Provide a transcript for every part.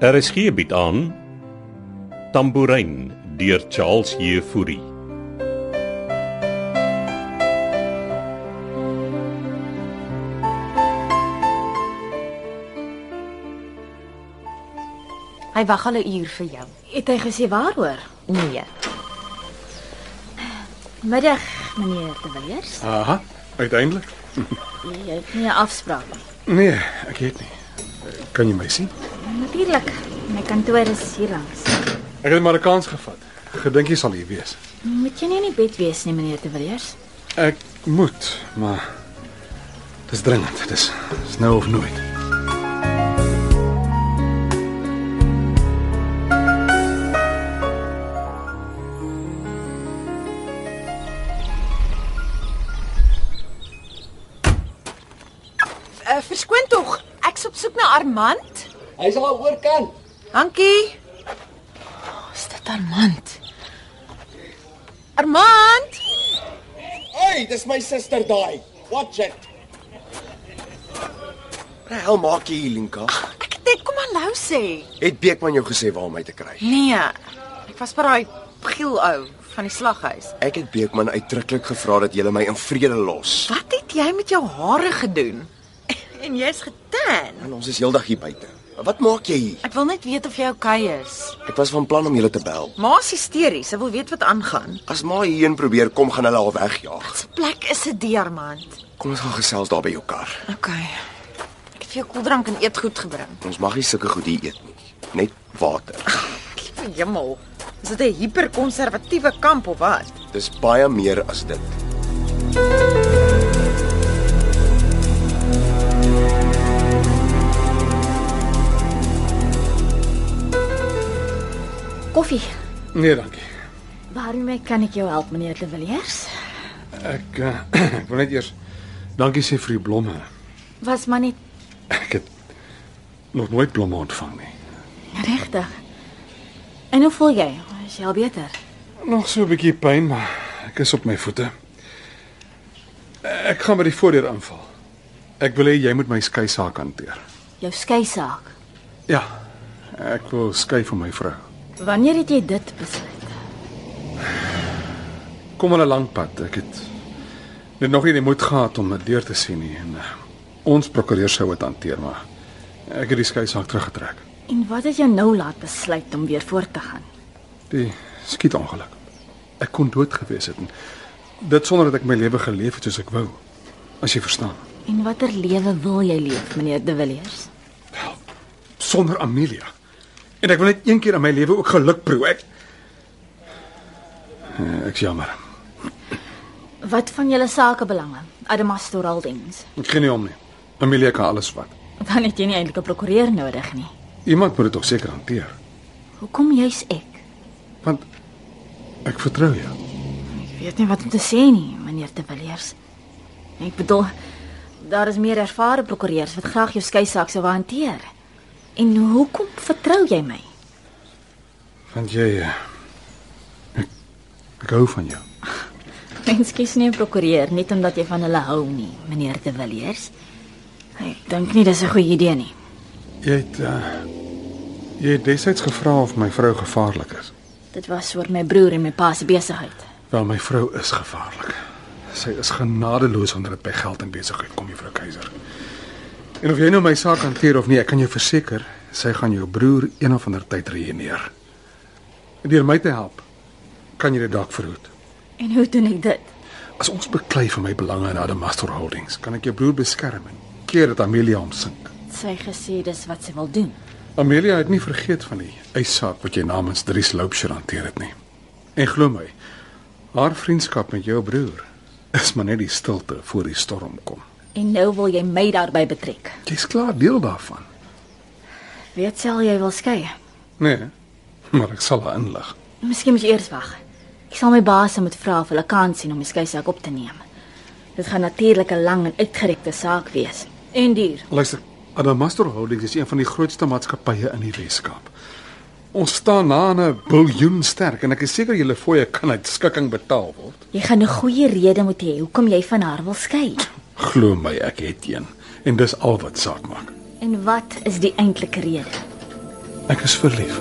RSG bied Er aan Tambourin deur Charles Jefouri. Hy wag al 'n uur vir jou. Het hy gesê waaroor? Nee. Middag, meneer De Villiers. Aha, uiteindelik? Jy het nie 'n afspraak nie. Nee, ek het nie. Kan jy my sien? Natuurlik. My kantoor is hier langs. Ek het maar 'n kans gevat. Gedink jy sal hier wees. Moet jy nie in die bed wees nie, meneer De Villiers. Ek moet, maar dis dringend. Dis, dis nou of nooit. Uh, verskoon tog, ek's op soek na Armand. Hy's al oorkant. Dankie. Oh, Is dit Armand? Armand, Hey, dis my suster daai. Watch it. Hel maak jy hier, Linka? ek het net kom hallo sê. Het Beekman jou gesê waar om my te kry? Nee, ek was by daai giel ou van die slaghuis. Ek het Beekman uitdruklik gevra dat jy my in vrede los. Wat het jy met jou hare gedoen? en jy's getan. En ons is heeldag hier buite. Wat maak jy hier? Ek wil net weet of jy oukei okay is. Ek was van plan om julle te bel. Ma's hysteries, sy wil weet wat aangaan. As ma hierheen probeer kom, gaan hulle haar wegjaag. Se plek is 'n diamant. Kom ons gaan gesels daar by jou kar. Okay. Ek het vir jou koeldrank en eetgoed gebring. Ons mag nie sulke goed hier eet nie. Net water. Liewe Hemel. Is dit 'n hiperkonservatiewe kamp of wat? Dis baie meer as dit. Koffie. Nee, dankie. Waarmee kan ek jou help, meneer De Villiers? Ek uh, ek wil net eers dankie sê vir die blomme. Was maar net Ek het nog nooit blomme ontvang nie. regtig. En hoe voel jy? Is jy al beter? Nog so 'n bietjie pyn, maar ek is op my voete. Ek gaan by die voordeur aanval. Ek wil hê jy moet my skei saak hanteer. Jou skei saak. Ja. Ek wil skei vir my vrou. Wanneer het jy dit besluit? Kom aan 'n lang pad. Ek het net nog nie die moed gehad om dit deur te sien nie en uh, ons prokureur sou dit hanteer, maar ek het die skei saak teruggetrek. En wat het jou nou laat besluit om weer voort te gaan? Die skietongeluk. Ek kon dood gewees het en dit sonder dat ek my lewe geleef het soos ek wou. As jy verstaan. En watter lewe wil jy leef, meneer De Villiers? sonder Amelia. En ek wil net een keer in my lewe ook geluk proe. Ek Eh, Ek's jammer. Wat van julle sakebelange? Adamastor Holdings. Ek gee nie om nie. Amelia kan alles vat. Dan het jy nie eintlik 'n prokureur nodig nie. Iemand moet dit tog seker hanteer, Hoekom juis ek? want ek vertrou jou. Ek weet nie wat om te sê nie, meneer De Villiers. Ek bedoel, daar is meer ervare prokureurs wat graag jou skei saak sou wou hanteer. En hoekom vertrou jy my? Want jy eh, ek, ek hou van jou. Mens kies nie 'n prokureur net omdat jy van hulle hou nie, meneer De Villiers. Ek dink nie dis 'n goeie idee nie. Jy het uh, jy het destyds gevra of my vrou gevaarlik is. Dit was oor my broer en my pa se besigheid. Wel, my vrou is gevaarlik. Sy is genadeloos wanneer dit by geld en besigheid kom, mevrou Keiser. En of jy nou my saak hanteer of nie, ek kan jou verseker, sy gaan jou broer een of ander tyd reëneer. En deur my te help, kan jy dit dalk verhoed. En hoe doen ek dit? As ons beklei vir my belange in Adamastor Holdings, kan ek jou broer beskerm en keer dat Amelia hom sink. Sy gesê dis wat sy wil doen. Amelia het nie vergeet van die eissaak wat jy namens Dries Loupsher hanteer het nie. En glo my, haar vriendskap met jou broer is maar net die stilte voor die storm kom. En nou wil jy my daarbey betrek. Jy's klaar deel daarvan. Weet sel jy wil skei. Nee, maar ek sal haar inlig. Miskien moet jy eers wag. Ek sal my baas moet vra of hulle kan sien om die skei saak op te neem. Dit gaan natuurlik 'n lang en uitgerekte saak wees en duur. Luister, Adamastor Holdings is een van die grootste maatskappye in die Wes-Kaap. Ons staan na aan 'n biljoen sterk en ek is seker julle fooie kan uit skikking betaal word. Jy gaan 'n goeie rede moet hê hoekom jy van haar wil skei. Glo my, ek het een en dis al wat saak maak. En wat is die eintlike rede? Ek is verlief.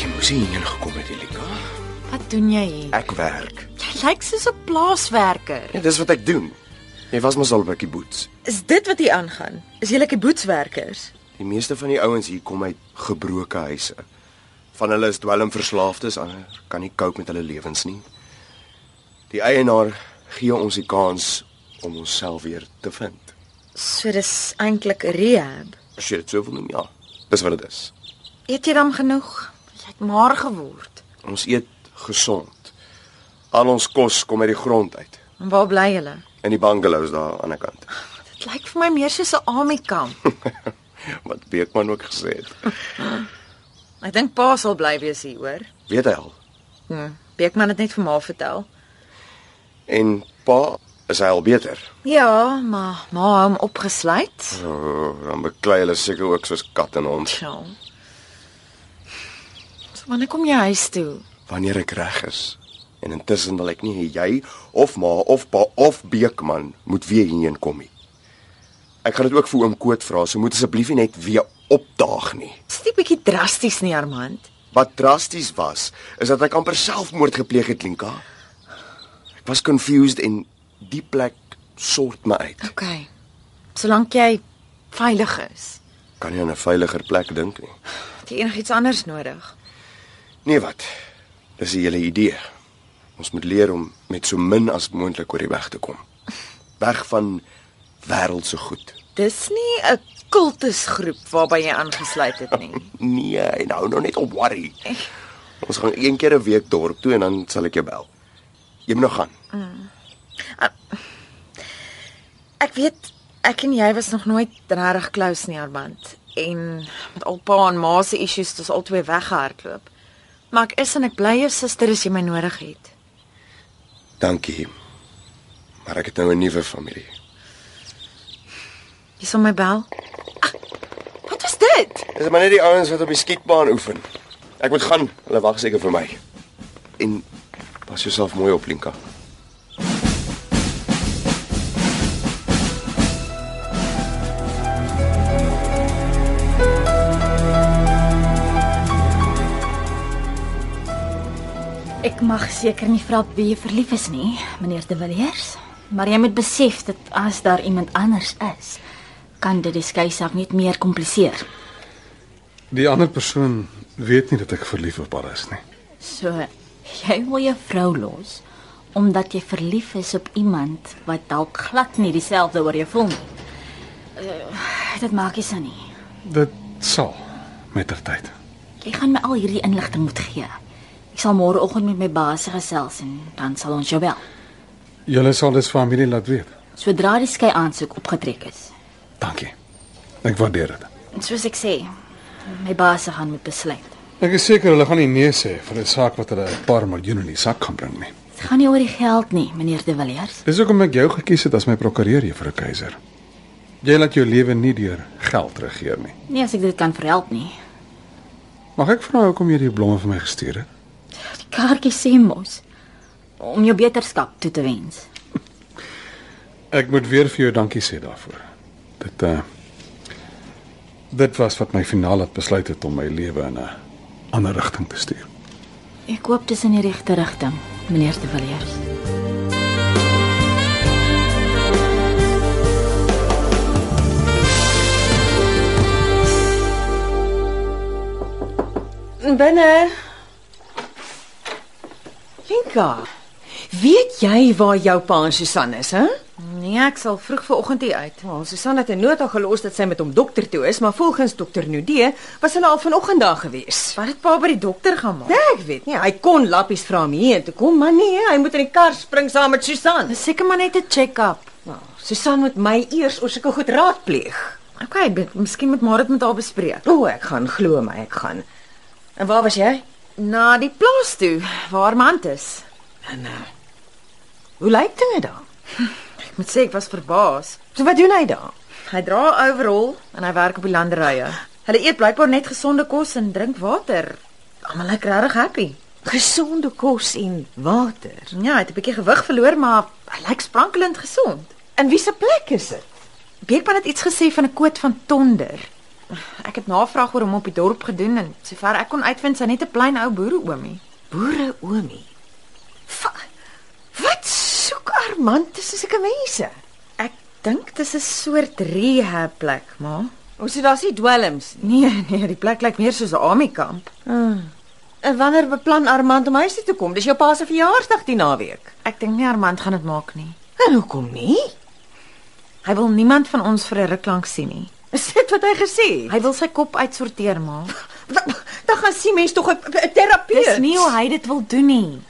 Jy moes hier ingekom het, Elika. Wat doen jy hier? Ek werk. Jy lyk soos 'n plaaswerker. En dis wat ek doen. Jy was mos al by die boots. Is dit wat hier aangaan? Is julle kiboetswerkers? Die meeste van die ouens hier kom uit gebroke huise. Van hulle is dwelmverslaafdes, ander kan nie cope met hulle lewens nie. Die eienaar gee ons die kans om onsself weer te vind. So dis eintlik rehab. As jy dit sou wil noem, ja. Dis wat dit is. Eet jy dan genoeg? Jy het maar geword. Ons eet gesond. Al ons kos kom uit die grond uit En waar bly julle? in die bungalows daar aan die ander kant. Dit lyk vir my meer soos 'n army kamp. Wat Beekman ook gesê het. Ek dink pa sal bly wees hier, hoor. Weet hy al? Hm. Beekman het net vir ma vertel. En pa is hy al beter. Ja, maar ma hou hom opgesluit. Oh, dan beklei hulle seker ook soos kat en hond. Ja. So, wanneer kom jy huis toe? wanneer ek reg is. En intussen wil ek nie hê jy of ma of pa of Beekman moet weer hierheen kom nie. Ek gaan dit ook vir oom Koot vra, so moet asseblief nie net weer opdaag nie. Dis nie bietjie drasties nie, Armand. Wat drasties was, is dat ek amper selfmoord gepleeg het, Linka. Ek was confused en die plek sort my uit. OK. Solank jy veilig is. Kan jy aan 'n veiliger plek dink nie? Het jy enigiets anders nodig? Nee wat. Dis die hele idee. Ons moet leer om met so min as moontlik oor die weg te kom. Weg van wêreldse goed. Dis nie 'n kultusgroep waarby jy aangesluit het nie. Nee, en hou nou net op worry. Ons gaan een keer 'n week dorp toe en dan sal ek jou bel. Jy moet nou gaan. Ek weet ek en jy was nog nooit regtig close nie, Armand. En met alpa en ma se issues het ons albei weggehardloop. Maar ek is en ek bly jou suster as jy my nodig het. Dankie. Maar ek het nou 'n nuwe familie. Jy sal my bel. Ah, wat was dit? Dis maar net die ouens wat op die skietbaan oefen. Ek moet gaan. Hulle wag seker vir my. En pas jouself mooi op, Linka. Ek mag seker nie vra op wie jy verlief is nie, meneer De Villiers, maar jy moet besef dat as daar iemand anders is, kan dit die skeisaak net meer kompliseer. Die ander persoon weet nie dat ek verlief op haar is nie. So, jy wil jou vrou los omdat jy verlief is op iemand wat dalk glad nie dieselfde oor jou voel nie. Uh, dit maak nie sin nie. Dit sal met ter tyd. Jy gaan my al hierdie inligting moet gee. Ek sal môreoggend met my baas gesels en dan sal ons jou bel. Julle sal dis familie laat weet. Sodra die skei aansoek opgetrek is. Dankie. Ek waardeer dit. En soos ek sê, my baas gaan moet besluit. Ek is seker hulle gaan nie nee sê vir 'n saak wat hulle 'n paar miljoen in die sak gaan bring nie. Dit gaan nie oor die geld nie, meneer De Villiers. Dis hoekom ek jou gekies het as my prokureur juffrou Keiser. Jy laat jou lewe nie deur geld regeer nie. Nee, as ek dit kan verhelp nie. Mag ek vra hoekom jy die blomme vir my gestuur het? Die kaartjie sê mos om jou beterskap toe te wens. Ek moet weer vir jou dankie sê daarvoor. Dit uh dit was wat my finaal het besluit het om my lewe in 'n ander rigting te stuur. Ek hoop dis in die regte rigting, meneer De Villiers. Binne. Linka, weet jy waar jou pa en Susan is, hè? Nee, ek sal vroeg vanoggend hier uit. Wel, Susan het 'n nota gelos dat sy met hom dokter toe is, maar volgens dokter Nudee was hulle al vanoggend daar gewees. Wat het pa by die dokter gaan maak? Nee, ek weet nie, hy kon lappies vra om hierheen te kom, maar nee, hy moet in die kar spring saam met Susan. Dis seker maar net 'n check-up. Wel, Susan moet my eers oor sulke goed raadpleeg. Okay, bet- miskien moet maar dit met haar bespreek. O, ek gaan glo my, ek gaan. En waar was jy? Na die plaas toe waar Mant is. En uh, hoe lyk dinge daar? Ek moet sê ek was verbaas. So wat doen hy daar? Hy dra 'n overall en hy werk op die landerye. Hulle eet blykbaar net gesonde kos en drink water. Almal lyk regtig happy. Gesonde kos en water. Ja, hy het 'n bietjie gewig verloor, maar hy lyk sprankelend gesond. In wiese plek is dit? Beekman het iets gesê van 'n koot van Tonder. Ek het navraag oor hom op die dorp gedoen en sover ek kon uitvind, sy net 'n plain ou boereoomie. Boere oomie. Va wat soek Armand tussen sulke mense? Ek dink dis 'n soort rehab plek, maar Ons sê daar's nie dwelms nie. Ah. nee, nee, die plek lyk meer soos 'n armiekamp. En wanneer beplan Armand om huis toe te kom? Dis jou pa se verjaarsdag die naweek. Ek dink nie Armand gaan dit maak nie. En hoekom nie? Hy wil niemand van ons vir 'n ruk lank sien nie. Is dit wat hy gesê het? Hy wil sy kop uitsorteer, maar Dan- Dan gaan sien mense tog 'n 'n terapeut. dis nie hoe hy dit wil doen nie.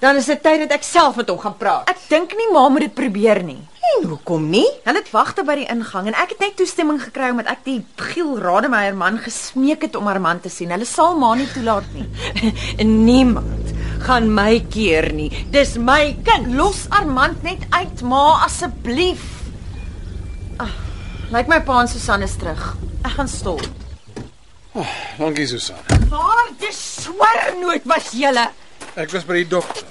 Dan is dit tyd dat ek self met hom gaan praat. Ek dink nie ma moet dit probeer nie. En hoekom nie? Hulle het wagte by die ingang en ek het net toestemming gekry omdat ek die Giel Rademeier man gesmeek het om haar man te sien. Hulle sal maar nie toelaat nie. Niemand gaan my keer nie. Dis my kind. Los Armand net uit, ma, asseblief. Ah, lyk my pa en Susan is terug. Ek gaan stop. Dankie Susan. Maar dis swer nooit was julle. Ek was by die dokter.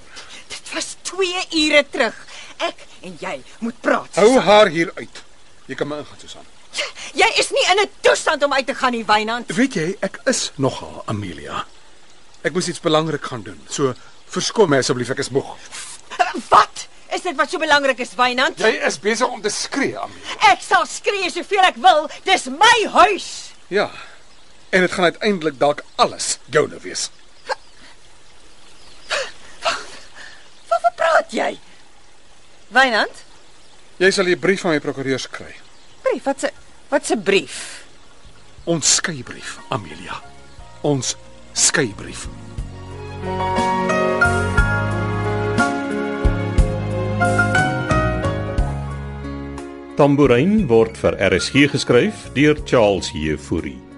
Dit was 2 ure terug. Ek en jy moet praat. Hou haar hier uit. Jy kan my ingaan Susan. Jy is nie in 'n toestand om uit te gaan nie, Wynand. Weet jy, ek is nogal Amelia. Ek moes iets belangrik gaan doen. So verskom my asseblief, ek is moeg. Wat? Is dit wat so belangrik is, Wynand? Jy is besig om te skree, Amelia. Ek sal skree soveel ek wil. Dis my huis. Ja. En dit gaan uiteindelik dalk alles joune wees. Waarvan praat jy? Wynand? Jy sal 'n brief van my prokureurs kry. Brief, wat 'n wat 'n brief? Ons skeybrief, Amelia. Ons skeybrief. Tambourin word vir RSG geskryf deur Charles Heffury.